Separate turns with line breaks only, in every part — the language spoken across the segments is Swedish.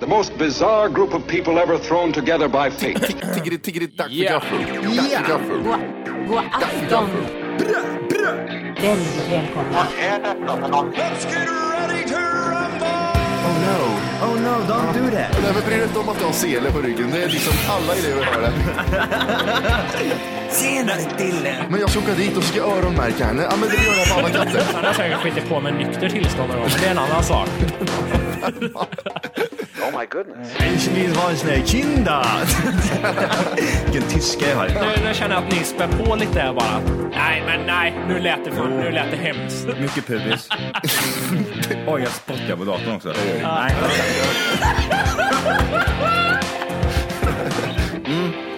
The most bizarre group of people ever thrown together by fate.
Tiggeri, tiggeri, dack för
Ja.
gaffel. Dack för gaffel.
God afton! Väldigt välkomna.
Oh no.
Oh no, don't do that.
Nej, men bry dig inte om att du har sele på ryggen. Det är liksom alla elever har det.
Senare Dille.
Men jag ska åka dit och ska öronmärka henne. Ja, men det gör jag på alla katter.
Han har säkert skitit på med nykter tillstånd någon gång, men det är en annan sak.
Äntligen var en sån här kinda. Vilken tyska jag har.
Nu, nu känner jag att ni spär på lite här bara. Nej, men nej, nu lät det, för, nu lät det hemskt.
Mycket pubis. Oj, jag spottar på datorn också.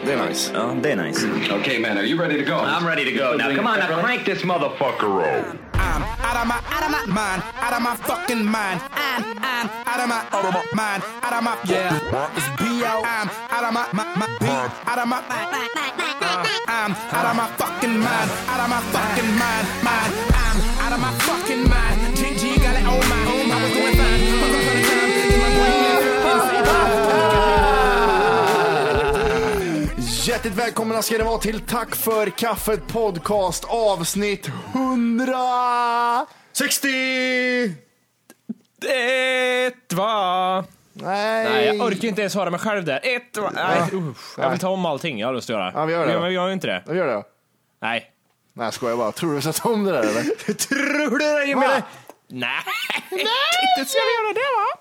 Det är nice.
Ja, det är nice.
okay, man, are you ready to go?
I'm ready to go now. Come on, now crank this motherfucker up.
I'm out of my out of my mind, out of my fucking mind. I'm I'm out of my out of my mind, out of my yeah. It's B.O. I'm out of my my my beat, out of my uh, I'm out of my fucking mind, out of my fucking mind, mind. I'm out of my fucking mind. GG got it on my own. I was doing fine. Once upon a time, in my
Hjärtligt välkomna ska ni vara till Tack för kaffet podcast avsnitt 100!
60!
Ett, va? Nej, jag orkar inte ens höra mig själv där. Ett, va? Nej, usch. Jag vill ta om allting jag har lust att göra.
Ja, vi gör det.
Men jag gör ju inte det.
Vad gör du?
Nej.
Nej, jag skojar bara. Tror du jag sa om det där eller?
Tror du det, Jimmy?
Va?
Nej. Nej! Inte ska vi göra det, va?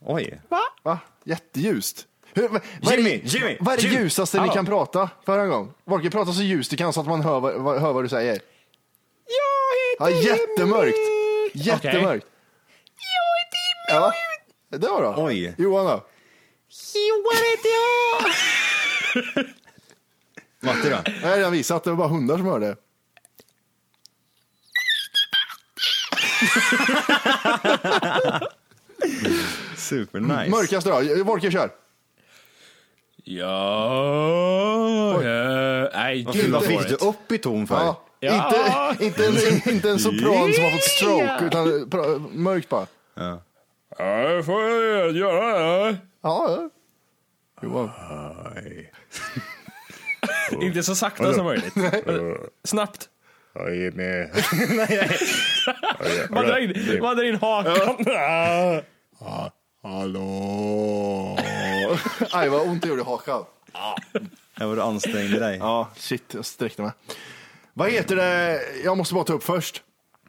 Oj.
Va? Jätteljust. Hur, men, vad är-
Jimmy, Jimmy,
Vad är det
Jimmy.
ljusaste
Hallå.
ni kan prata? För en gång. Volker, prata så ljust du kan så att man hör, vad- vad- hör vad du säger.
Jag
Ja,
heter
jättemörkt. Jättemörkt. Ja, det var bra.
Oj.
Johan då?
Matti då?
Jag har redan visat, det var bara hundar som hörde.
Supernice.
Mörkaste då? Volker kör.
Ja... eh, Nej, gud vad
Vad fick
dåligt.
du upp i ton för?
Ja.
Ja.
Inte, inte, en, inte en sopran som har fått stroke, utan pra- mörkt bara.
Ja, det får jag göra det.
Ja, ja. Johan.
Inte så sakta som möjligt. Snabbt. Man drar in, man drar in hakan.
Hallå. Aj, vad ont det gjorde i hakan.
Jag var du ansträngde dig.
Ja, shit, jag sträckte mig. Vad heter det? Jag måste bara ta upp först.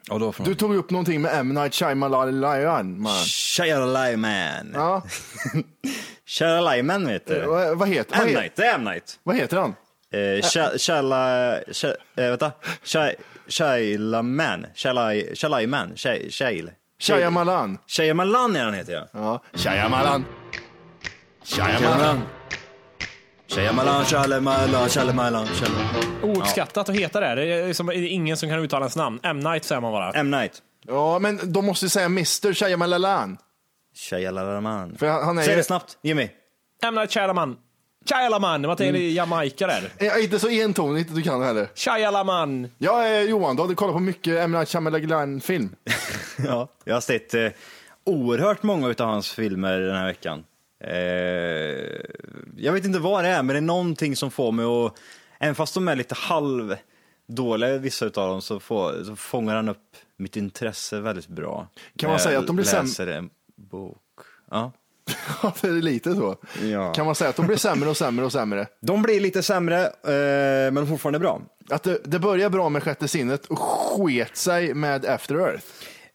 Och då från...
Du tog upp någonting med M. Night Shyamalan. man.
Shalalayman.
Ja,
Shalalayman vet du.
vad, vad, heter, vad, heter,
M-Night, det är M-Night.
vad heter han?
Eh, Sha- Shala... Sha- eh, Vänta. Sha- Shalaman. Shalay- Shalayman. Sha- Shail.
Shyamalan.
Shayamalan är han heter jag.
Ja, Shyamalan.
Shayamalan. Shayamalan, Shalamalan, Shalamalan, Shalamalan.
Ouppskattat att heta det. Det är, som, det är ingen som kan uttala hans namn. M. Night säger man bara.
M-Night.
Ja, men de måste ju säga Mr Shyamalan.
Shayalaman.
För han- han är
Säg
ju-
det snabbt, Jimmy.
M. Night Shyamalan. Shyamalan. Det var inte mm. Jamaica där.
Eh, inte så entonigt du kan heller.
Shyamalan.
Jag är Johan, du hade kollat på mycket M. Night Shyamalan-film.
Ja, jag har sett eh, oerhört många av hans filmer den här veckan. Eh, jag vet inte vad det är, men det är någonting som får mig att, även fast de är lite halvdåliga vissa av dem, så, får, så fångar han upp mitt intresse väldigt bra.
Kan man
När jag
säga att de blir säm-
läser en bok. Ja.
Ja, det är lite så.
Ja.
Kan man säga att de blir sämre och sämre och sämre.
De blir lite sämre, eh, men fortfarande bra.
Att det, det börjar bra med Sjätte sinnet och sket sig med After Earth.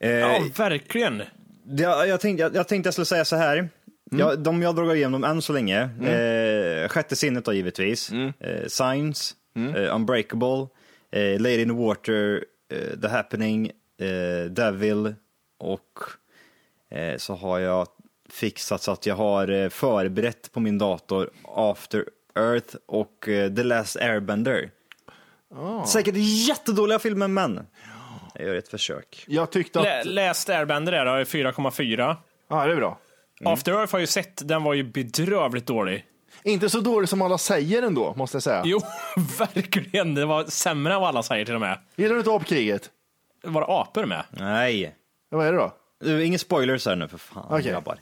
Eh,
Ja, verkligen.
Jag, jag, tänkte, jag, jag tänkte jag skulle säga så här. Jag, de jag drog igenom än så länge. Eh, sjätte sinnet då givetvis. Eh, Signs, eh, Unbreakable, eh, Lady in the Water, eh, The Happening, eh, Devil och eh, så har jag fixat så att jag har eh, förberett på min dator After Earth och eh, The Last Airbender. Säkert jättedåliga filmer men jag gör ett försök.
Jag tyckte
Lä,
att...
läst Airbender där, har ju 4,4.
Ja, det är bra.
After Earth har jag ju sett, den var ju bedrövligt dålig.
Inte så dålig som alla säger ändå, måste jag säga.
Jo, verkligen. Det var sämre än vad alla säger till och med.
Gillar du inte apkriget?
Var det apor med?
Nej.
Vad är det då?
Du, Inga spoilers här nu för fan
Okej.
grabbar.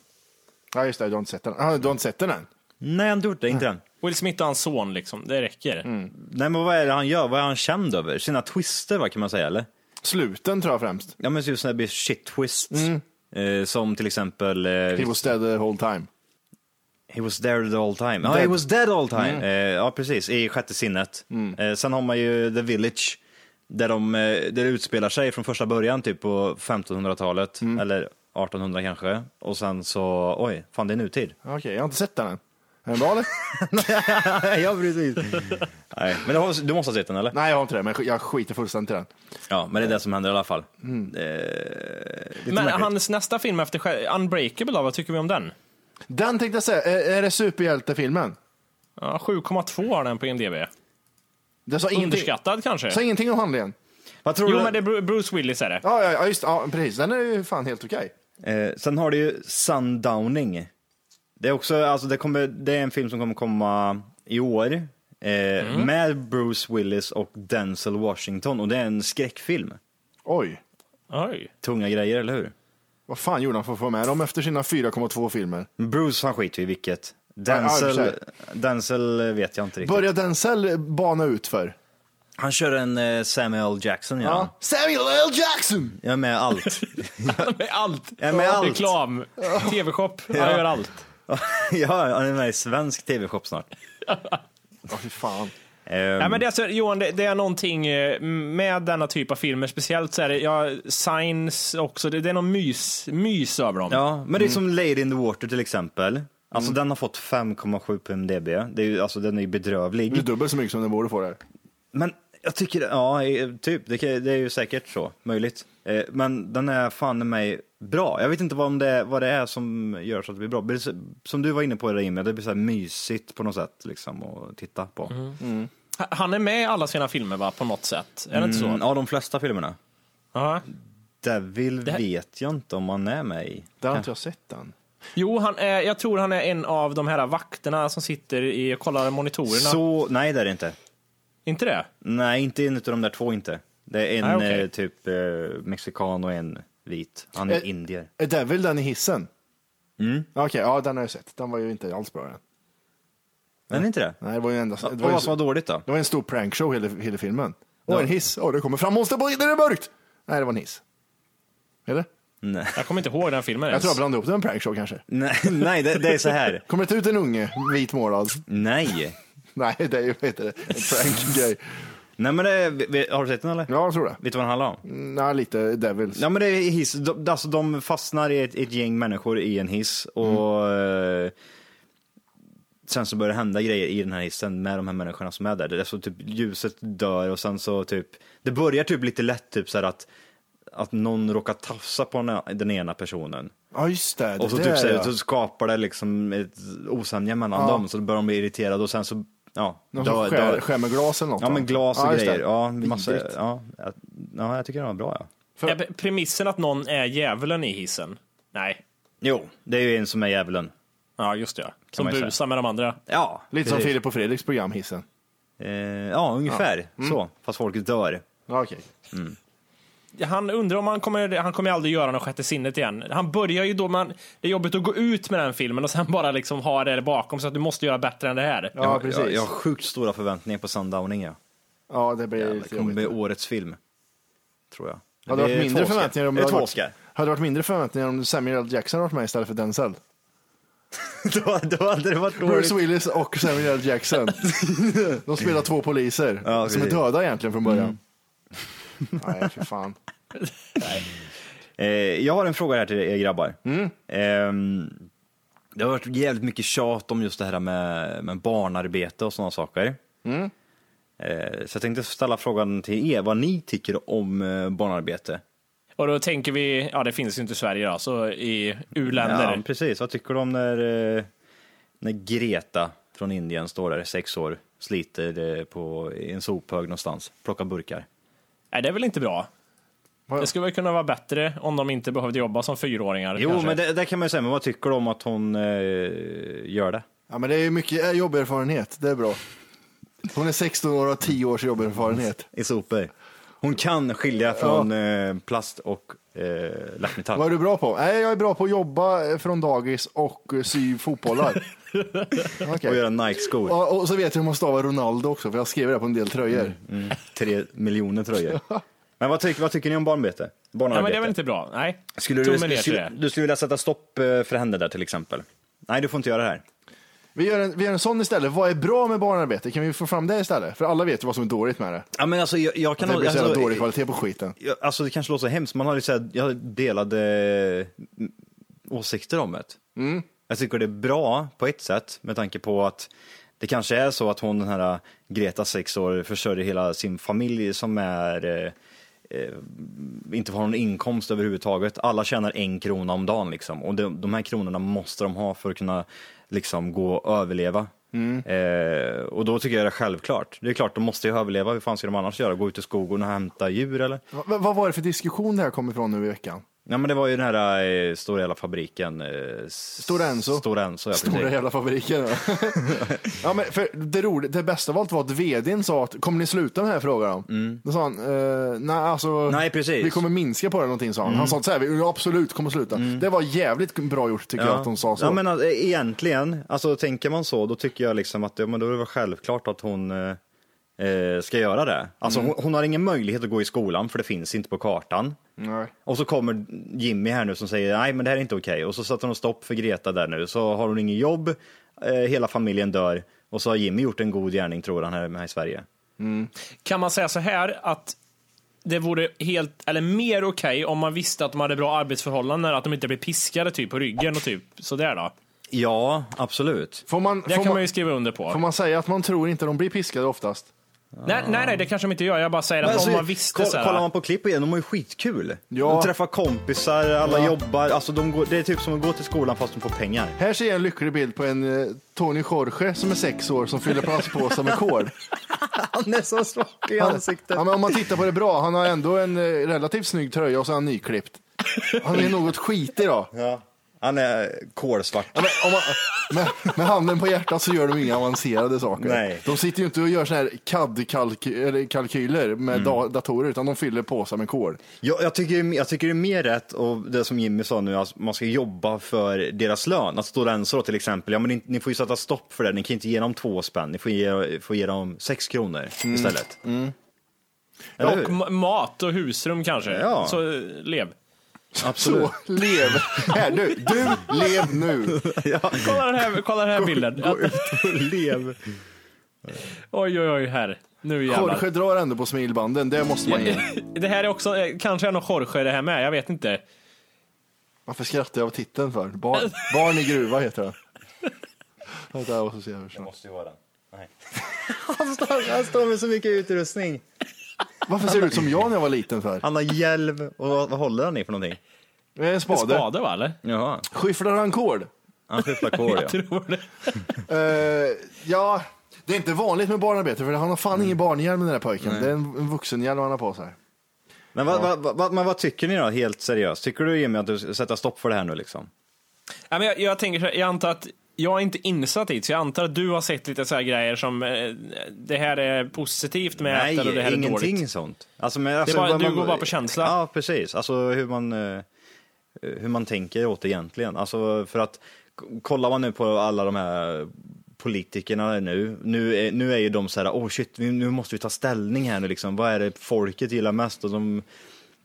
Ja, just det. Du har inte sett den. Ah, du har inte sett den än?
Nej, jag har inte gjort det. Inte än.
Will Smith och hans son liksom, det räcker.
Mm, Nej, men vad är det han gör? Vad är han känd över? Sina twister, vad kan man säga? eller?
Sluten tror jag främst.
Ja, men just när det blir shit twists. Eh, som till exempel... eh,
Mm. He was dead the whole time.
He was there the whole time. Ja,
Dead. Mm.
he was dead all time. Eh, ja, precis. I Sjätte sinnet. Eh, sen har man ju The Village, där, de, eh, där det utspelar sig från första början, typ på 1500-talet,
Mm.
eller 1800 kanske. Och sen så, oj, fan det är nutid.
Okej, jag har inte sett den än. Är den bra eller?
ja, precis. Nej, men du, har, du måste ha sett den, eller?
Nej, jag har inte det, men jag sk- jag skiter fullständigt i den.
Ja, men det är det som händer i alla fall. Eh, lite
Men
märkligt.
hans nästa film efter Sj- Unbreakable, då, vad tycker vi om den?
Den tänkte jag säga, är, är det superhjältefilmen?
Ja, 7,2 har den på IMDB.
Det sa ingenting,
Underskattad kanske?
sa ingenting om handlingen.
Vad tror
Jo,
du?
men det är Bru- Bruce Willis är det.
Ja, ja, ja, just ja, precis. Den är ju fan helt okej.
Eh, sen har du ju Sundowning. Det är också, alltså det, kommer, det är en film som kommer komma i år. Eh, Med Bruce Willis och Denzel Washington och det är en skräckfilm.
Oj,
Oj.
Tunga grejer, eller hur?
vad fan gjorde han för att få med dem efter sina 4,2 filmer?
Men Bruce han skiter ju i vilket.
Ja, ja, i och
Denzel,
för
Denzel eh, vet jag inte riktigt.
Börjar Denzel bana ut för?
Han kör en eh, Samuel Jackson ja.
Ja. Samuel L. Jackson!
Jag är med allt.
Med allt!
Ja, med allt.
Reklam, tv-shop, han gör allt.
ja, han är med i svensk tv-shop snart.
Ja, fy fan.
Ehm,
Ja, men det är alltså, Johan, det, det är någonting eh, med denna typ av filmer, speciellt så är det, ja, Signs också, det, det är någon mys, mys över dem.
Ja, men det är som Lady in the Water till exempel. Alltså
Mm.
den har fått 5,7 på MDB. Det är ju, alltså, den är ju bedrövlig.
Mm.
Det är dubbelt så mycket som den borde få där.
Men jag tycker, ja, eh, typ, det, kan- det är ju säkert så, möjligt. Eh, Men den är fan i mig bra. Jag vet inte vad, om det, vad det är som gör så att det blir bra. Det blir så- Som du var inne på Raimi, det blir så här mysigt på något sätt liksom att titta på.
Mm.
Mm.
Ha- Han är med i alla sina filmer va, på något sätt? Är det inte
Mm,
så?
ja, de flesta filmerna.
Ja.
Devil
här-
vet jag inte om han är med i.
Där har inte jag sett den.
Jo, han är, jag tror han är en av de här vakterna som sitter i, och kollar monitorerna.
Så, nej det är det inte.
Inte det?
Nej, inte en utav de där två inte. Det är en
Nej, okej.
eh, typ eh, mexikan och en vit. Han är
Eh,
indier.
Är Devil den i hissen? Mm. Okej, ja den har jag sett. Den var ju inte alls bra den.
Men är inte det?
Nej, det var ju endast...
Vad
eh, Det var,
var som var
ju,
dåligt då?
det var en stor prankshow hela, hela filmen. Och en hiss. Åh, det kommer fram monster på när det är mörkt! Nej, det var en hiss. Eller?
Nej,
Jag kommer inte ihåg den filmen
Jag
ens.
tror jag blandade ihop det med en prankshow kanske.
nej, nej det, det är så här.
Kommer det ut en unge, vit målad?
Nej.
Nej, det är ju vad heter det, en prankgrej.
Nej men det, vi- vi- har du sett den eller?
Ja, jag tror det.
Vet du vad den handlar om?
Nej, lite Devils.
Ja men det är hiss, de, alltså de fastnar i ett, ett gäng människor i en hiss och eh, sen så börjar det hända grejer i den här hissen med de här människorna som är där. Det är så typ ljuset dör och sen så typ, det börjar typ lite lätt typ så här att att någon råkar tafsa på den- den ena personen.
Ja, just det.
Och så,
det
typ, så,
där,
här,
ja.
så skapar det liksom ett osämja mellan dem, så då börjar de bli irriterade och sen så, ja.
Någon
dör-
som skär,
dör-
skär med glas eller något.
Ja
va?
men glas och
Ja, just det.
grejer. Ja, massa,
Vidrigt.
ja, jag- ja, jag tycker den var bra ja.
Är pre- premissen att någon är djävulen i hissen? Nej.
Jo, det är ju en som är djävulen.
Ja, just det. Som
man ju
busar med de andra.
Ja,
Lite som
precis.
Filip och Fredriks program Hissen.
Eh, ja, ungefär
Mm.
så. Fast folk dör.
Ja, okej.
Han undrar om han kommer, han kommer aldrig göra något sjätte sinnet igen. Han börjar ju då, man, det är jobbigt att gå ut med den filmen och sen bara liksom ha det bakom så att du måste göra bättre än det här.
Ja,
jag,
precis.
Jag, jag har sjukt stora förväntningar på Sundowning. Ja.
Ja, det blir
Det
lite
kommer bli
jobbigt.
årets film. Tror jag.
Hade det
är
varit mindre
två Oscar.
förväntningar om
Är det
hade
två
varit-
Oscar?
Hade det varit mindre förväntningar om Samuel L. Jackson hade varit med istället för Denzel?
då, då hade det varit dåligt.
Bruce Willis och Samuel L. Jackson. De spelar två poliser
Ja,
som är
precis. Mm.
döda egentligen från början. Nej, för fan.
Eh, jag har en fråga här till er grabbar.
Mm.
Ehm, det har varit jävligt mycket tjat om just det här med, med barnarbete och sådana saker.
Mm.
Eh, så jag tänkte ställa frågan till er, vad ni tycker om eh, barnarbete?
Och då tänker vi, ja det finns ju inte i Sverige då, så i
Ja,
u-länder.
precis. Vad tycker du om när, eh, när Greta från Indien står där i sex år, sliter eh, på i en sophög någonstans, plockar burkar?
Nej, det är väl inte bra? Det skulle väl kunna vara bättre om de inte behövde jobba som fyraåringar.
Jo,
kanske.
men det, det kan man ju säga, men vad tycker du om att hon eh, gör det?
Ja, men det är ju mycket eh, jobberfarenhet, det är bra. Hon är 16 år och har 10 års jobberfarenhet.
I sopor. Hon kan skilja från eh, plast och eh, lagt
Vad
metall.
är du bra på? Nej, jag är bra på att jobba eh, från dagis och eh, sy fotbollar. Okej.
Och göra Nike-skor.
och, och så vet jag hur man stavar Ronaldo också, för jag skriver det på en del tröjor.
mm. Tre miljoner tröjor. Men vad tycker, vad tycker ni om barnbete?
Nej,
Barnarbete?
men det är väl inte bra? Nej.
Skulle du,
Tummen ner
skulle,
till
skulle,
det.
du skulle vilja sätta stopp eh, för henne där till exempel? Nej, du får inte göra det här.
Vi, gör en, vi gör en sån istället. Vad är bra med barnarbete? Kan vi få fram det istället? För alla vet ju vad som är dåligt med det.
Ja, men alltså, jag, jag kan...
Det blir så jävla
alltså,
dålig kvalitet på skiten.
jag, alltså, det kanske låter så hemskt, man har ju så här, jag har delade eh, åsikter om det. Jag tycker det är bra på ett sätt med tanke på att det kanske är så att hon, den här äh, Greta, sex år, försörjer hela sin familj som är eh, inte har någon inkomst överhuvudtaget. Alla tjänar en krona om dagen liksom. Och de, de här kronorna måste de ha för att kunna liksom gå och överleva. Eh, och då tycker jag det är självklart. Det är klart, de måste ju överleva. Hur fan ska de annars göra? Gå ut i skogen och hämta djur eller?
Va- va- vad var det för diskussion det här kom ifrån nu i veckan?
Ja men det var ju den här eh, stora jävla fabriken. Eh, Stora
Enso.
Stora Enso, ja
Stora
precis.
jävla fabriken. ja. ja, men för det, roligt, det bästa av allt var att vdn sa att kommer ni sluta med den här frågan? Mm. Då sa han, eh, nej alltså,
Nej, precis.
vi kommer minska på det någonting sa han. Han sa så här, vi absolut kommer sluta. Det var jävligt bra gjort tycker jag att de sa så.
Ja, men alltså, egentligen, alltså tänker man så, då tycker jag liksom att ja, men då är det väl självklart att hon eh, eh, ska göra det. Alltså
Mm.
hon, hon har ingen möjlighet att gå i skolan för det finns inte på kartan.
Nej.
Och så kommer Jimmy här nu som säger nej men det här är inte okej och så sätter de stopp för Greta där nu så har hon ingen jobb, eh, hela familjen dör och så har Jimmy gjort en god gärning tror han här, här i Sverige.
Kan man säga så här att det vore helt, eller mer okej om man visste att de hade bra arbetsförhållanden, att de inte blev piskade typ på ryggen och typ sådär då.
Ja, absolut.
Får, man,
Det
får,
kan
man,
man ju skriva under på.
får man säga att man tror inte de blir piskade oftast?
Nej, nej, nej, det kanske de inte gör. Jag bara säger att
Men alltså,
om man visste
koll,
så här.
Kollar man på klipp igen, de har ju skitkul.
Ja.
De träffar kompisar, alla jobbar. Alltså, de går, det är typ som att gå till skolan fast de får pengar.
Här ser jag en lycklig bild på en eh, Tony Jorge som är sex år som fyller plastpåsar med kol.
Han är så svag i
Han, ja, men om man tittar på det bra, han har ändå en eh, relativt snygg tröja och så är han nyklippt. Han är något skitig då.
Ja. Han är kolsvart.
Ja, men om man, med, med handen på hjärtat så gör de inga avancerade saker.
Nej.
De sitter ju inte och gör såna här CAD-kalkyler med da, datorer utan de fyller påsar med kol.
Jag, jag, tycker, jag tycker det är mer rätt, och det som Jimmy sa nu, att man ska jobba för deras lön. Att Stora då till exempel, ja men ni, ni får ju sätta stopp för det, ni kan inte ge dem två spänn, ni får ge, får ge dem sex kronor istället. Eller
Och
hur?
ma- mat och husrum kanske.
Ja.
Så eh, lev.
Absolut.
Så, lev! Här, du, du, lev nu!
Kolla den här, kolla den här bilden.
Gå ut och lev.
Oj, oj, oj, här. Nu jävlar.
Jorge drar ändå på smilbanden, det måste man ge.
Det här är också, eh, kanske är någon Jorge det här med, jag vet inte.
Varför skrattar jag av titeln för? Barn, barn i gruva heter den. Vänta, jag måste se här först.
måste ju vara den. Nej. han, står, han står med så mycket utrustning.
Varför ser du ut som jag när jag var liten för?
Han har hjälm och vad, vad håller han i för någonting?
Det är En
En
spade.
spade va, eller?
Jaha,
Skyfflar han kol?
han skyfflar kol ja.
Tror det.
Eh, ja, det är inte vanligt med barnarbete för han har fan ingen barnhjälm den där pojken. Det är en, en vuxenhjälm han har på sig.
Men vad, vad, vad, men vad tycker ni då, helt seriöst? Tycker du Jimmy att du ska sätta stopp för det här nu liksom?
Ja, men jag, jag tänker så här, jag antar att jag är inte insatt i det, så jag antar att du har sett lite så här grejer som eh, det här är positivt med att, eller det här är
ingenting
dåligt.
sånt. Alltså, men, alltså,
bara-
vad
du går bara på känsla.
Ja, precis. Alltså hur man, eh, hur man tänker åt det egentligen. Alltså för att k- kollar man nu på alla de här politikerna nu, nu är, nu är ju de så här, oh shit, vi- nu måste vi ta ställning här nu liksom. Vad är det folket gillar mest? Och de,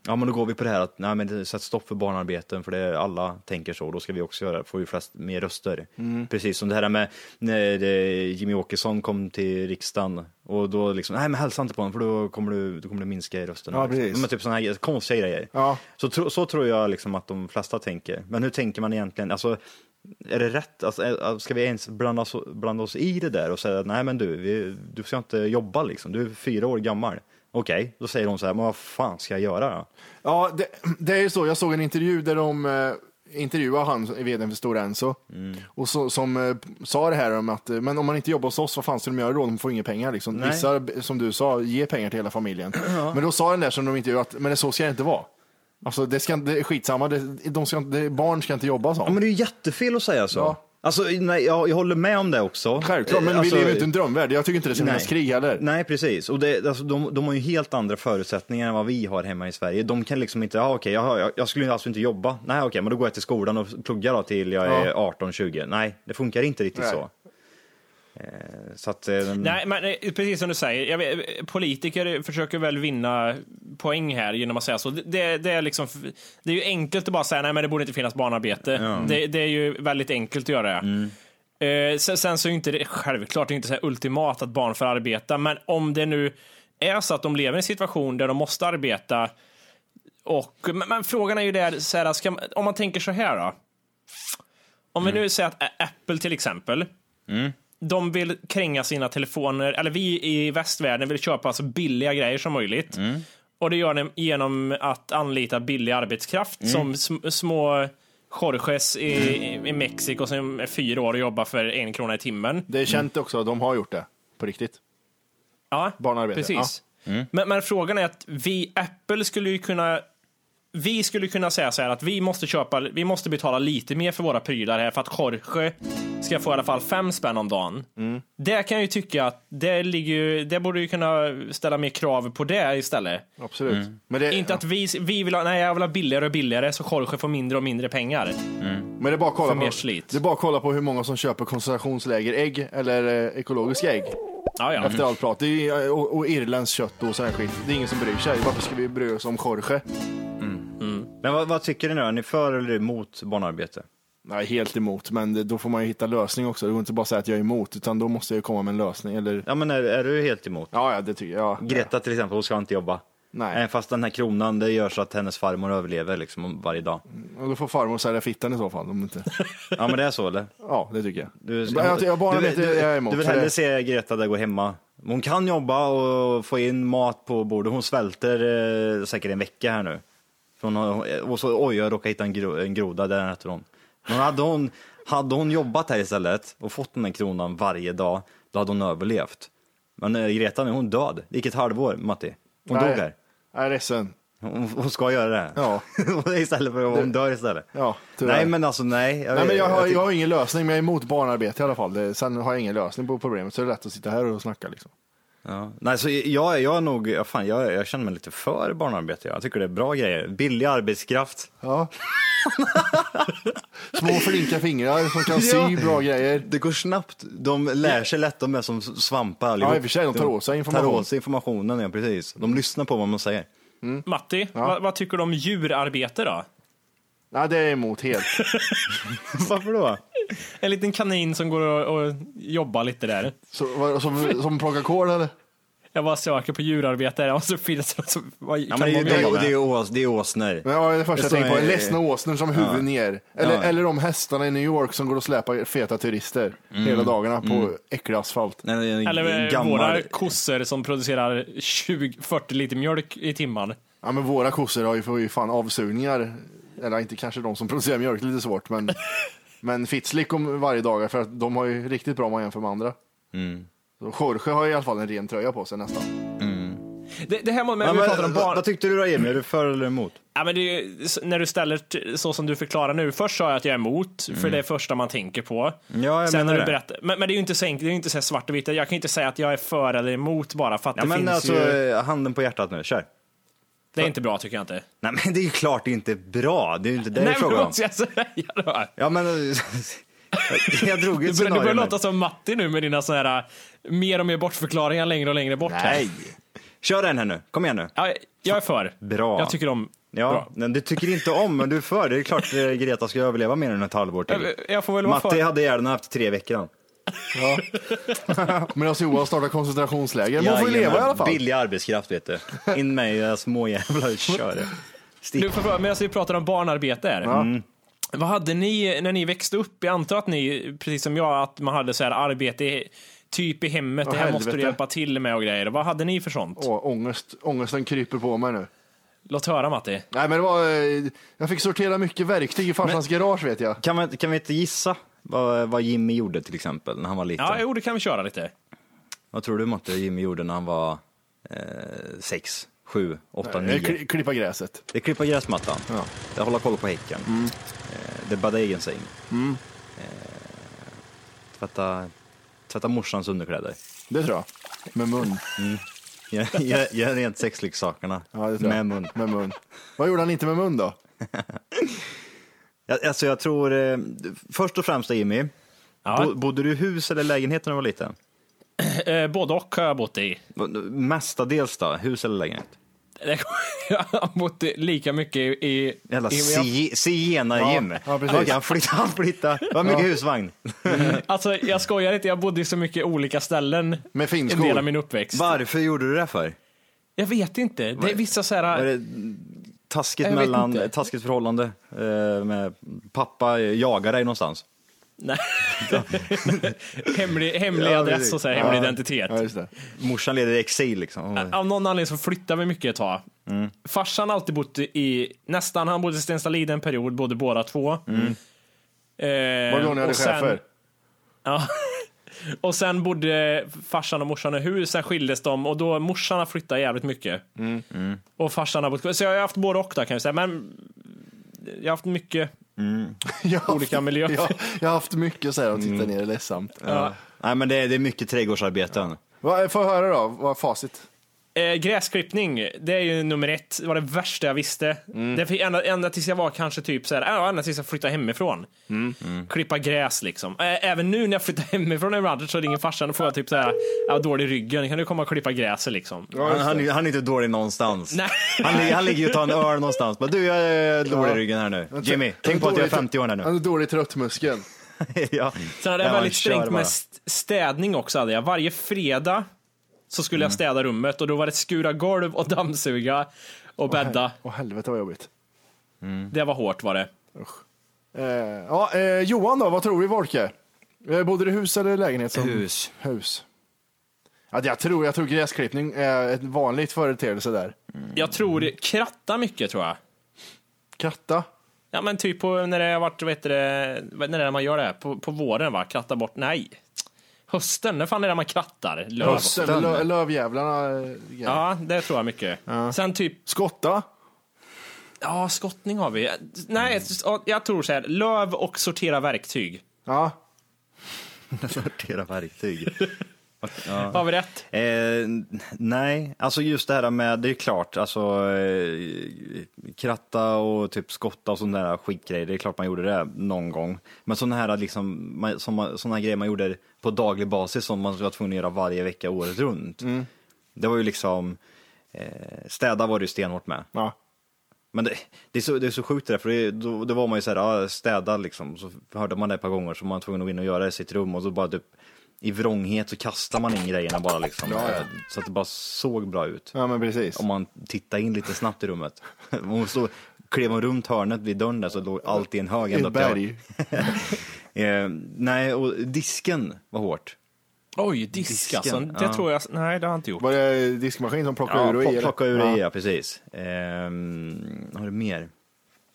ja men då går vi på det här att, nej men det- sätt stopp för barnarbeten för det är, alla tänker så, då ska vi också göra det, får ju flest mer röster.
Mm.
Precis som det här med när eh, Jimmy Åkesson kom till riksdagen och då liksom, nej men hälsa inte på honom för då kommer du, då kommer du minska i rösterna.
Ja,
liksom.
precis.
Men typ sådana här konstiga grejer.
Ja.
Så, tro, så tror jag liksom att de flesta tänker. Men hur tänker man egentligen? Alltså, är det rätt? Alltså, är- ska vi ens blanda oss, blanda oss i det där och säga nej men du, vi, du ska inte jobba liksom, du är fyra år gammal. Okej, då säger hon så här, men vad fan ska jag göra då?
Ja, det, det är ju så. Jag såg en intervju där de eh, intervjuade han, vdn för Stora Enso, och så, som eh, sa det här om att eh, men om man inte jobbar hos oss, vad fan ska de göra då? De får inga pengar. Liksom.
Nej.
Vissa, som du sa, ger pengar till hela familjen. Men då sa den där som de intervjuade att men det, så ska det inte vara. Alltså, det, ska, inte- det är skitsamma, det, de ska, inte- det, barn ska inte jobba så.
Ja men det är ju jättefel att säga så.
Ja.
Alltså, nej, jag, jag håller med om det också.
Självklart, men
Eh, alltså,
vi lever ju inte i en drömvärld. Jag tycker inte det ska finnas krig heller.
Nej, precis. Och det, alltså, de, de har ju helt andra förutsättningar än vad vi har hemma i Sverige. De kan liksom inte, ja okej, jag, har- jag, jag skulle alltså inte jobba. Nej, okej, men då går jag till skolan och pluggar då till jag är 18-20. Nej, det funkar inte riktigt
Nej.
så. Eh, Så att, eh,
Nej, men eh, precis som du säger, jag vet, politiker försöker väl vinna poäng här genom att säga så. Det- Det, det, är, liksom, det är ju enkelt att bara säga nej, men det borde inte finnas barnarbete. Det, det är ju väldigt enkelt att göra det. Eh, sen, sen så är ju inte det, självklart, det är inte så här ultimat att barn får arbeta, men om det nu är så att de lever i en situation där de måste arbeta, och, men, men frågan är ju där, så här, ska, man- om man tänker så här då. Om vi nu säger att Ä- Apple till exempel, de vill kränga sina telefoner, eller vi i västvärlden vill köpa så billiga grejer som möjligt. Och det gör de genom att anlita billig arbetskraft som sm- små Jorges i, i Mexiko som är fyra år och jobbar för en krona i timmen.
Det är känt också att de har gjort det på riktigt.
Ja,
Barnarbete, Mm.
Precis. Men, men frågan är att vi, Apple skulle ju kunna vi skulle kunna säga så här att vi måste köpa, vi måste betala lite mer för våra prylar här för att Jorge ska få i alla fall fem spänn om dagen.
Mm.
Det kan jag ju tycka att det ligger ju, det borde ju kunna ställa mer krav på det istället.
Absolut.
Mm.
Men, det,
Inte att vi, vi vill ha, nej jag vill ha billigare och billigare så Jorge får mindre och mindre pengar.
men det, är bara att kolla
för mer
på,
slit.
det är bara att kolla på hur många som köper koncentrationslägerägg eller eh, ekologiska ägg.
Ja, ja.
Mm.
Efter allt prat. Det är, ju- och, och Irlands kött och sån här skit. Det är ingen som bryr sig. Varför ska vi bry oss om Jorge?
men vad, vad tycker ni nu? Är ni för eller emot barnarbete?
Nej, helt emot. Men det, då får man ju hitta lösning också. Det går inte bara att säga att jag är emot, utan då måste jag ju komma med en lösning. Eller...
Ja, men är, är du helt emot?
Ja, ja, det tycker jag. Ja.
Greta till exempel, hon ska inte jobba.
Nej.
Även fast den här kronan, det gör så att hennes farmor överlever liksom varje dag.
Och då får farmor sälja fittan i så fall. Om inte...
Ja men det är så eller?
Ja, det tycker jag.
Du,
jag, jag, jag bara
du,
vet
du,
jag är emot.
du vill
för
hellre
det-
se Greta där gå hemma. Hon kan jobba och få in mat på bordet. Hon svälter eh, säkert en vecka här nu. För hon har, och så oj, jag råkade hitta en, gro, en groda, där äter hon. Men hade hon, hade hon jobbat här istället och fått den där kronan varje dag, då hade hon överlevt. Men eh, Greta nu, hon är död. Det gick ett halvår, Matti. Hon
Nej.
dog här.
Jag är ledsen.
Hon, hon ska göra det.
Ja.
istället för att hon dör istället.
Ja, tyvärr.
nej men alltså nej. Jag,
Nej, men jag, har,
tycker-
jag har ingen lösning, men jag är emot barnarbete i alla fall. Det, sen har jag ingen lösning på problemet, så det är lätt att sitta här och snacka. Liksom.
Ja. Nej, så jag, jag är nog, ja, fan, jag, jag känner mig lite för barnarbete. Jag tycker det är bra grejer. Billig arbetskraft.
Ja. Små flinka fingrar som kan sy bra grejer.
Det går snabbt. De lär sig lätt, de är som svampar
Ja, i och för sig, de tar åt sig information.
Tar åt sig informationen, ja precis. De lyssnar på vad man säger.
Matti, vad, vad tycker du om djurarbete då?
Nej, det är jag emot helt.
Varför då?
En liten kanin som går och, och jobbar lite där.
Så, vad, som, som plockar kol eller?
Jag bara söker på djurarbetare och så finns det... Så, vad,
Ja,
kan
men det,
många
det, det,
jobba
det
med?
är ås, det är åsnor.
Men, ja, det är det första jag
Det är
tänker på.
som-
Ledsna åsnor som huvud ner. Eller,
Ja.
eller de hästarna i New York som går och släpar feta turister hela dagarna på äcklig asfalt.
Nej, det är en
Eller eh,
gammal-
våra kossor som producerar 20-40 liter mjölk i timmen.
Ja, men våra kossor har ju, får ju fan avsugningar. Eller inte kanske de som producerar mjölk, lite svårt. Men, men Fitzlick om varje dag, för att de har ju riktigt bra om man jämför med andra.
Mm.
Så Jorge har ju i alla fall en ren tröja på sig nästan.
Det, det här med,
Ja,
när vi
men,
pratar om barn...
vad, vad tyckte du då Emil? Är du för eller emot?
Ja, men det är ju, s- när du ställer t- så som du förklarar nu. Först sa jag att jag är emot, för det är första man tänker på.
Mm. Ja, jag
Sen
menar
när du
det.
berättar, men, men det är ju inte så, enkelt, det är ju inte så här svart och vitt. Jag kan ju inte säga att jag är för eller emot bara för att
Ja,
det
men
finns
alltså,
ju...
handen på hjärtat nu, kör.
Det är inte bra tycker jag inte.
Nej men det är ju klart det inte är bra, det är ju inte det det är
Nej, men
frågan om.
vad ska jag säga då?
Ja men, jag
Du
drog ju ett
börjar,
scenario.
du börjar
nu.
låta som Matti nu med dina såna här eh, mer och mer bortförklaringar längre och längre bort. här.
Nej. Kör den här nu, kom igen nu.
Ja, jag är för.
Bra.
Jag tycker om...
Ja,
Bra.
men du tycker inte om, men du är för. Det är klart eh, Greta ska överleva mer än ett halvår till.
Jag- Jag får väl vara
Matti
för.
hade ihjäl den efter tre veckor.
Men alltså Johan startar koncentrationsläger. Man får ju leva i alla fall.
Billig arbetskraft vet du. In med era småjävlar, kör det.
Du får fråga, medan vi pratar om barnarbete här. Mm. Vad hade ni när ni växte upp? Jag antar att ni, precis som jag, att man hade så här arbete i- typ i hemmet. det här
helvete.
måste du hjälpa till med och grejer. Vad hade ni för sånt?
Åh, ångest. Ångesten kryper på mig nu.
Låt höra Matti.
Nej men det var, eh, jag fick sortera mycket verktyg i farsans garage vet jag.
Kan, man, kan vi inte gissa vad, vad Jimmy gjorde till exempel när han var liten?
Ja, jo, det kan vi köra lite.
Vad tror du Matti Jimmy gjorde när han var eh, sex, sju, åtta,
Eh,
nio?
kli- Klippa gräset.
Det är klippa
Mm.
gräsmattan, det är hålla koll på häcken, eh, det är bädda egen säng, Tvätta, tvätta morsans underkläder.
Det tror jag. Med mun.
Gör- Gör gör rent sexleksakerna
Ja, det tror jag.
med mun.
Med mun. Vad gjorde han inte med mun då?
Jag, alltså jag tror, eh, först och främst Jimmy,
Ja.
bo, bodde du i hus eller lägenhet när du var liten?
Eh, både och har jag bott i.
Mestadels då, hus eller lägenhet?
Jag har bott i lika mycket i... i
Jävla
i-
si- zigenar-Jim.
Ja, ja, precis. Mm.
Okej, han flyttade, han flyttade. Det var mycket husvagn.
Alltså, jag skojar inte, jag bodde i så mycket olika ställen
Med
en
finskor?
del av min uppväxt.
Varför gjorde du det för?
Jag vet inte. Det är vissa så
Var
här...
det taskigt,
Jag vet
mellan,
inte.
taskigt förhållande? eh, Med pappa eh, jagar dig någonstans?
Nej. hemlig hemlig
Ja,
adress
precis.
och så här,
Ja.
hemlig identitet.
Ja, just det.
Morsan leder i exil liksom.
Av någon anledning så flyttade vi mycket ett tag.
Mm.
Farsan har alltid bott i, nästan, han bodde i Stenstalid en period, bodde båda två. Eh,
Mm. Var det då ni hade
och sen-
chefer?
Ja. Och sen bodde farsan och morsan i hus, sen skildes de och då morsan har flyttat jävligt mycket.
Mm.
Och farsan har bott kvar. Så jag har haft både och där kan jag säga, men jag har haft mycket
Ja.
olika miljöer.
Jag, jag har haft mycket så här att titta ner, det är ledsamt.
Ja.
Nej men det är, det är mycket trädgårdsarbeten.
Vad- Få höra då, vad är facit?
Eh, gräsklippning, det är ju nummer ett. Det var det värsta jag visste.
Mm.
Det fick ända, ända tills jag var kanske typ så här, ja, ända tills jag flyttade hemifrån.
Mm.
Klippa gräs liksom. Eh, även nu när jag flyttar hemifrån ibland så ringer farsan och får jag typ så här, jag har dålig i ryggen, kan du komma och klippa gräset liksom?
Han, han, är- han är inte dålig någonstans.
Nej.
Han, ligger- han ligger ju och tar en öl någonstans. Bara, du, jag är dålig i ryggen här nu. Jimmy, tänk på att jag är 50 år här
Han
nu.
är dålig tröttmuskel.
ja.
Sen hade jag
Ja, man
väldigt
kör
strängt
bara.
med st- städning också. Hade jag. Varje fredag så skulle
Mm.
jag städa rummet och då var det skura golv och dammsuga och bädda.
Åh helvete vad jobbigt.
Det var hårt var det.
Eh, ja, eh, Johan då, vad tror vi Volke? Eh, bodde du i hus eller lägenhet? Som...
Hus.
Hus. Ja, jag, tror, jag tror gräsklippning är ett vanligt företeelse där.
Mm.
Jag tror det kratta mycket tror jag.
Kratta?
Ja men typ på, när det har varit, vad heter det, vad- när det är man gör det, här? på, på våren va? Kratta bort, nej. Hösten, när fan är det man krattar? Löv.
Höss eller lö, lövjävlarna? eh, grejer.
Ja, det tror jag mycket. Sen typ,
Skotta?
ja skottning har vi.
Mm.
Nej, jag- jag tror så här, löv och sortera verktyg.
Ja.
Sortera verktyg.
Har vi rätt?
Eh, nej, alltså just det här med, det är klart, alltså eh, kratta och typ skotta och sådana där skitgrejer, det är klart man gjorde det någon gång. Men sådana här liksom, man- som man- såna här grejer man gjorde på daglig basis som man var tvungen att göra varje vecka året runt. Det var ju liksom, eh, städa var det ju stenhårt med.
ja.
Men det, det, är, så, det är så sjukt det där, för det, då, då var man ju såhär, ja, städa liksom, så hörde man det ett par gånger så man var tvungen att gå in och göra det i sitt rum och så bara typ i vrånghet så kastar man in grejerna bara liksom. eh, Så att det bara såg bra ut.
Ja men precis.
Om man tittar in lite snabbt i rummet. Och så klev man runt hörnet vid dörren där så låg allt i en hög.
I
ända
ett
upp till hörnet.
berg.
Eh, nej, och disken var hårt.
Oj, disk
Disken,
alltså. Det
ja.
tror jag, nej det har jag inte gjort.
Var det diskmaskin som plockade ur och i?
plock-
eller?
plocka ur
ja.
i, ja precis. Ehm, har du mer?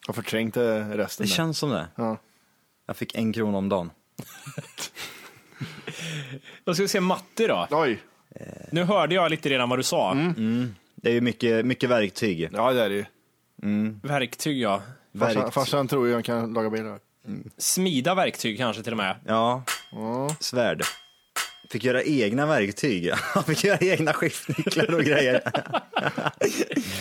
Jag förträngde eh, resten.
Det
där.
känns som det.
Ja.
Jag fick en krona om dagen.
Då ska vi se Matti då.
Oj.
Nu hörde jag lite redan vad du sa.
Mm. Det är ju mycket, mycket verktyg.
Ja det är det ju.
Verktyg ja.
Farsan,
Verkt-
farsan tror ju han kan laga bilar.
Smida verktyg kanske till och med.
Ja. Svärd. Fick göra egna verktyg. Han fick göra egna skiftnycklar och grejer.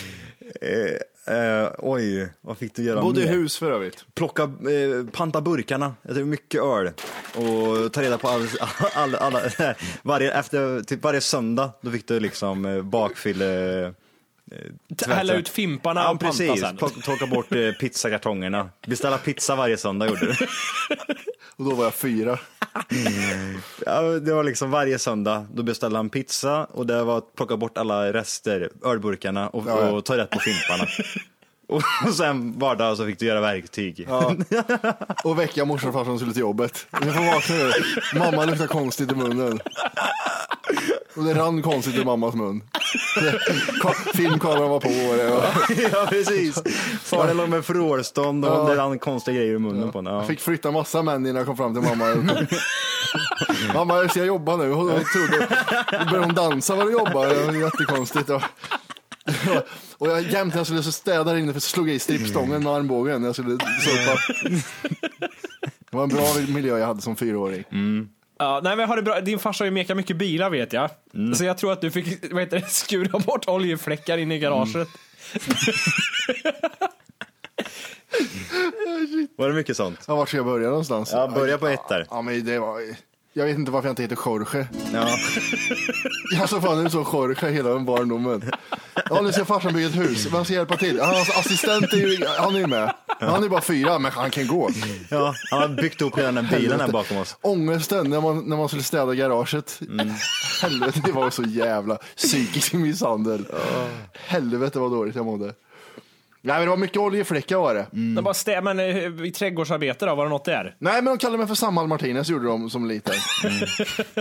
eh, eh, oj, vad fick du göra
Bodde i
mer?
hus för övrigt.
Plocka, eh, panta burkarna. Det är mycket öl. Och ta reda på all, all, alla, varje, efter, typ varje söndag, då fick du liksom eh, bakfylle... Eh, tvätta.
Hälla ut fimparna
Ja,
och panta
precis.
sen.
Plocka- Torka bort eh, pizzakartongerna. Beställa pizza varje söndag gjorde du.
Och då var jag fyra.
Ja, det var liksom varje söndag, då beställde han pizza och det var att plocka bort alla rester, ölburkarna och,
Ja, ja.
och ta rätt på fimparna. och sen vardag så fick du göra verktyg.
Och väcka morsan och farsan skulle till jobbet. Ni får vakna nu. Mamma luktar konstigt i munnen. Och det rann konstigt ur mammas mun. Ka- Filmkameran var på. Och det var.
ja precis. Faren låg med vrålstånd och det rann konstiga grejer i munnen på honom.
Jag
Ja.
fick flytta massa män innan jag kom fram till mamma. Mamma, jag ska jobba nu. Hon trodde, då började hon dansa var du jobbar. Det var jättekonstigt. Och, och jag, jämt när jag skulle så städa där inne för slog jag i strippstången med armbågen. när Jag skulle sopa. Det var en bra miljö jag hade som fyraåring.
Ja, nej, men jag har det bra. Din farsa har ju mekat mycket bilar vet jag. Så jag tror att du fick vad heter det, skura bort oljefläckar in i garaget.
Var det mycket sånt?
Ja, vart ska jag börja någonstans?
Ja, börja på ett där.
Ja, men det var... Jag vet inte varför jag inte heter Jorge.
Ja.
Jag såg fan ut som Jorge hela den barndomen. Ja, nu ska farsan bygga ett hus. Vem ska hjälpa till? Ja, Hans assistent är ju, han är ju med. Men han är bara fyra, men han kan gå.
ja, han har byggt upp hela den här bilen här bakom oss.
Ångesten när man, när man skulle städa garaget.
Mm.
Helvete, det var så jävla psykisk misshandel. Helvete vad dåligt jag mådde. Nej, men det var mycket oljefläckar var det.
Mm.
De bara stä- men eh, i trädgårdsarbete då, var det något där?
Nej, men de kallade mig för Samal Martinez gjorde de som liten.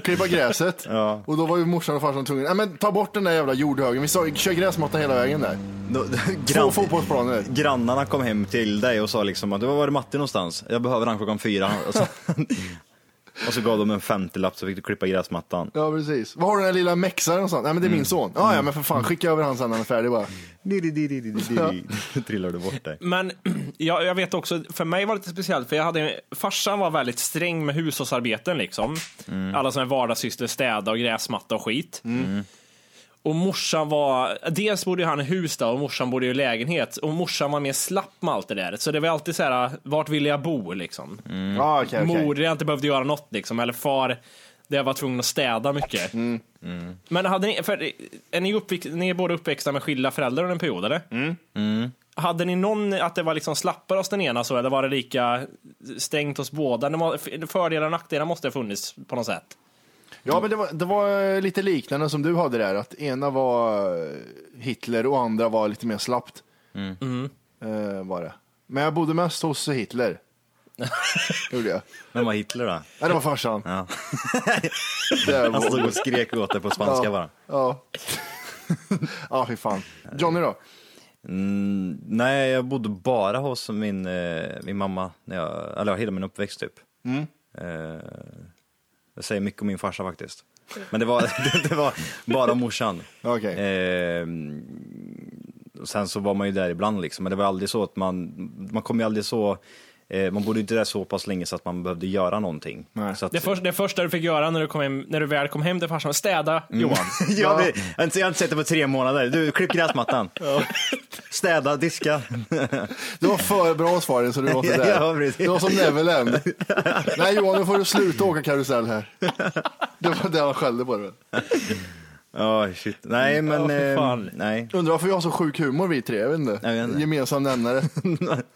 Klippa gräset.
Mm. Ja.
Och då var ju morsan och farsan tvungna. Nej, men ta bort den där jävla jordhögen. Vi sa, kör gräsmatta hela vägen där.
Då-
Två
Grann,
fotbollsplaner.
grannarna kom hem till dig och sa liksom att var var det Matti någonstans? Jag behöver han klockan fyra. Och så, och så gav de en 50-lapp så fick du klippa gräsmattan.
Ja, precis. Var har du den där lilla mexaren och sånt? Nej, men det är min son. Ja, ja, men för fan, skicka över han sen när han är färdig bara.
Då trillar du bort dig.
Men jag, jag vet också, för mig var det lite speciellt, för jag hade, farsan var väldigt sträng med hushållsarbeten. Liksom. Alla såna här vardagssysslor, städa och gräsmatta och skit. Och morsan var, dels bodde ju han i hus då, och morsan bodde i lägenhet. Och morsan var mer slapp med allt det där. Så det var alltid så här, vart vill jag bo liksom?
Ja, Mm. Ah, okej, okej.
Mor, jag inte behövde göra något liksom. Eller far, där jag var tvungen att städa mycket.
Mm.
Men hade ni, för, är ni, uppväxt, ni är båda uppväxta med skilda föräldrar under en period eller?
Mm.
Hade ni någon, att det var liksom slappare hos den ena så, eller var det lika stängt hos båda? Det var- Fördelar och nackdelar måste ha funnits på något sätt.
Ja, men det var, det var eh, lite liknande som du hade där. Att ena var eh, Hitler och andra var lite mer slappt. Eh, var det. Men jag bodde mest hos Hitler. Gjorde jag.
Vem var Hitler då?
Ja, det var farsan.
Ja.
Det
Han
var,
stod och skrek åt dig på spanska bara.
ja. ja, fy fan. Johnny då?
Mm, nej, jag bodde bara hos min, eh, min mamma, när jag, eller hela min uppväxt typ.
Mm.
Eh, jag säger mycket om min farsa faktiskt. Men det var, det, det var bara morsan.
Mm. Okej.
Eh, och sen så var man ju där ibland liksom, men det var aldrig så att man, man kom ju aldrig så, eh, man bodde ju inte där så pass länge så att man behövde göra någonting.
Nej.
Så att,
Det, först, det första du fick göra när du, kom hem, när du väl kom hem till farsan, städa
Mm.
Johan.
Ja, det, jag, har inte, jag har inte sett det på tre månader. Du, klipp gräsmattan. Städa, diska.
Det var för bra svaren så du var sådär.
Ja, precis.
det var som Neverland. Nej Johan, nu får du sluta åka karusell här. Det var det han skällde på. Det.
Ja, shit. Nej, men...
Ja, för
eh,
fan.
nej.
Undrar varför vi har så sjuk humor vi tre, jag vet inte.
Jag vet inte.
Gemensam nämnare.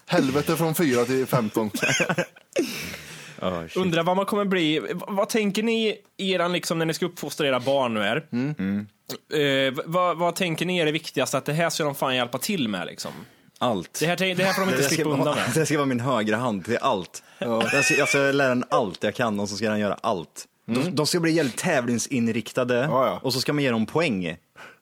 Helvete från 4 till 15.
Ja, shit.
Undrar vad man kommer bli. v- Vad tänker ni eran, liksom, när ni ska uppfostra era barn nu är?
Mm.
Eh, v- vad, vad tänker ni är det viktigaste att det här ska de fan hjälpa till med liksom?
Allt.
Det här, tän- det här får de inte
Det ska,
slippa undan
vara,
med.
det ska vara min högra hand till allt. Jag, ska, jag ska lära den allt jag kan och så ska den göra allt. De, de ska bli jävligt tävlingsinriktade
Mm. Ja, ja.
och så ska man ge dem poäng.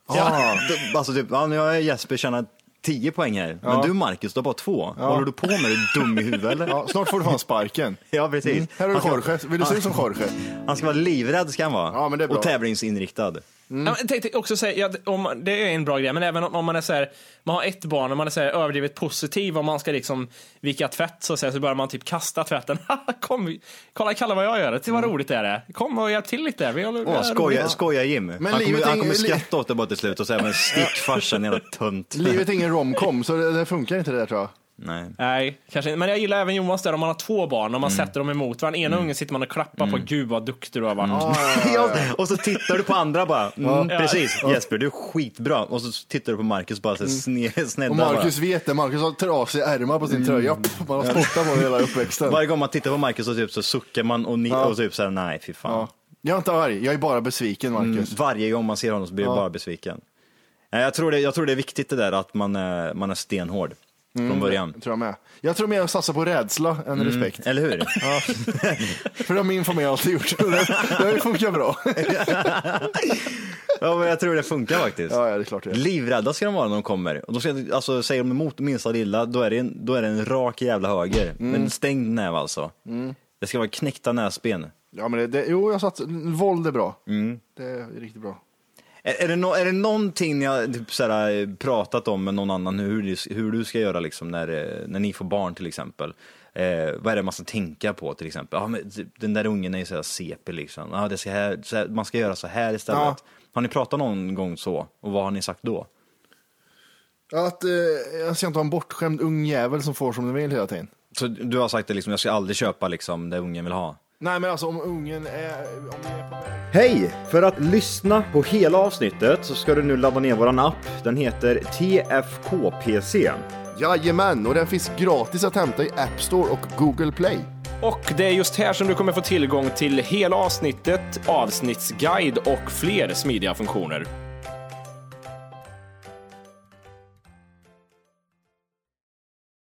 Ja.
De, alltså typ, ja, nu har jag Jesper tjänat 10 poäng här, men du Marcus, du har bara två. Vad håller du på med? Är du dum i huvudet eller?
Ja, snart får du fan sparken. Mm.
Ja, precis.
Här har du
Han ska-
Jorge. Vill du se ut som Jorge?
Han ska vara livrädd ska han vara.
Ja, men det är bra.
Och tävlingsinriktad.
Ja, men tänk, tänk också säga, ja, om, det är en bra grej, men även om, om man är så här, man har ett barn och man är så här, överdrivet positiv och man ska liksom vika tvätt så, att säga, så börjar man typ kasta tvätten. Haha, Kom, kolla Kalle vad jag gör, titta vad roligt det är det Kom och hjälp till lite. Vi håller,
Mm. Åh, skoja, skoja Jim. han, kommer,
livet är
han kommer
ingen-
skratta åt det bara till slut och säga men stick farsan jävla tunt.
Livet är ingen romcom, så det, det funkar inte det där tror jag.
Nej.
Nej, kanske inte. Men jag gillar även Johans där om man har två barn och man sätter dem emot varandra. Ena ungen sitter man och klappar på, gud vad duktig du har varit.
Mm. Ja, och så tittar du på andra bara. Mm, Precis, Jesper du är skitbra. Och så tittar du på Marcus bara så sne- snedda
Mm. Och Marcus vet det. Marcus har trasiga ärmar på sin tröja. Pff, Man har spottat på det hela
bara.
uppväxten.
Varje gång man tittar på Mm. Marcus så, typ, så suckar man och, ni- och typ såhär, nej fy fan.
Ja. Jag är inte arg, jag är bara besviken Marcus.
Varje gång man ser honom så blir jag bara besviken. Nej, Jag tror, det, jag tror det är viktigt det där att man är, man är stenhård från
Mm.
början. Mm.
Tror jag med. Jag tror mer att satsa på rädsla än respekt.
Eller hur?
För det har min familj alltid gjort. Det har ju funkat bra.
Ja, men jag tror det funkar faktiskt.
Ja, ja, det är klart det gör.
Livrädda ska de vara när de kommer. Och de ska, alltså, säger de emot minsta lilla, då är det en, då är det en rak jävla höger.
Mm.
En stängd näve alltså. Det ska vara knäckta näsben.
Ja, men det, det, jo, jag satt, våld är bra. Det är riktigt bra.
Är, är, det no, är det någonting ni har typ, eh, såhär, pratat om med någon annan hur, ni- hur du ska göra liksom, när, eh, när ni får barn till exempel? Eh, vad är det man ska tänka på till exempel? Ja, men typ, den där ungen är ju så här CP liksom. Ja, det ska här, så här, man ska göra så här istället.
Ja.
Har ni pratat någon gång så? Och vad har ni sagt då?
Att, eh, jag ska inte vara en bortskämd ung jävel som får som den vill hela tiden.
Så du har sagt det liksom, jag ska aldrig köpa liksom det ungen vill ha?
Nej men alltså om ungen är... Om den är på väg.
Hej! För att lyssna på hela avsnittet så ska du nu ladda ner våran app. Den heter TFKPC.
Jajamän, och den finns gratis att hämta i App Store och Google Play.
Och det är just här som du kommer få tillgång till hela avsnittet, avsnittsguide och fler smidiga funktioner.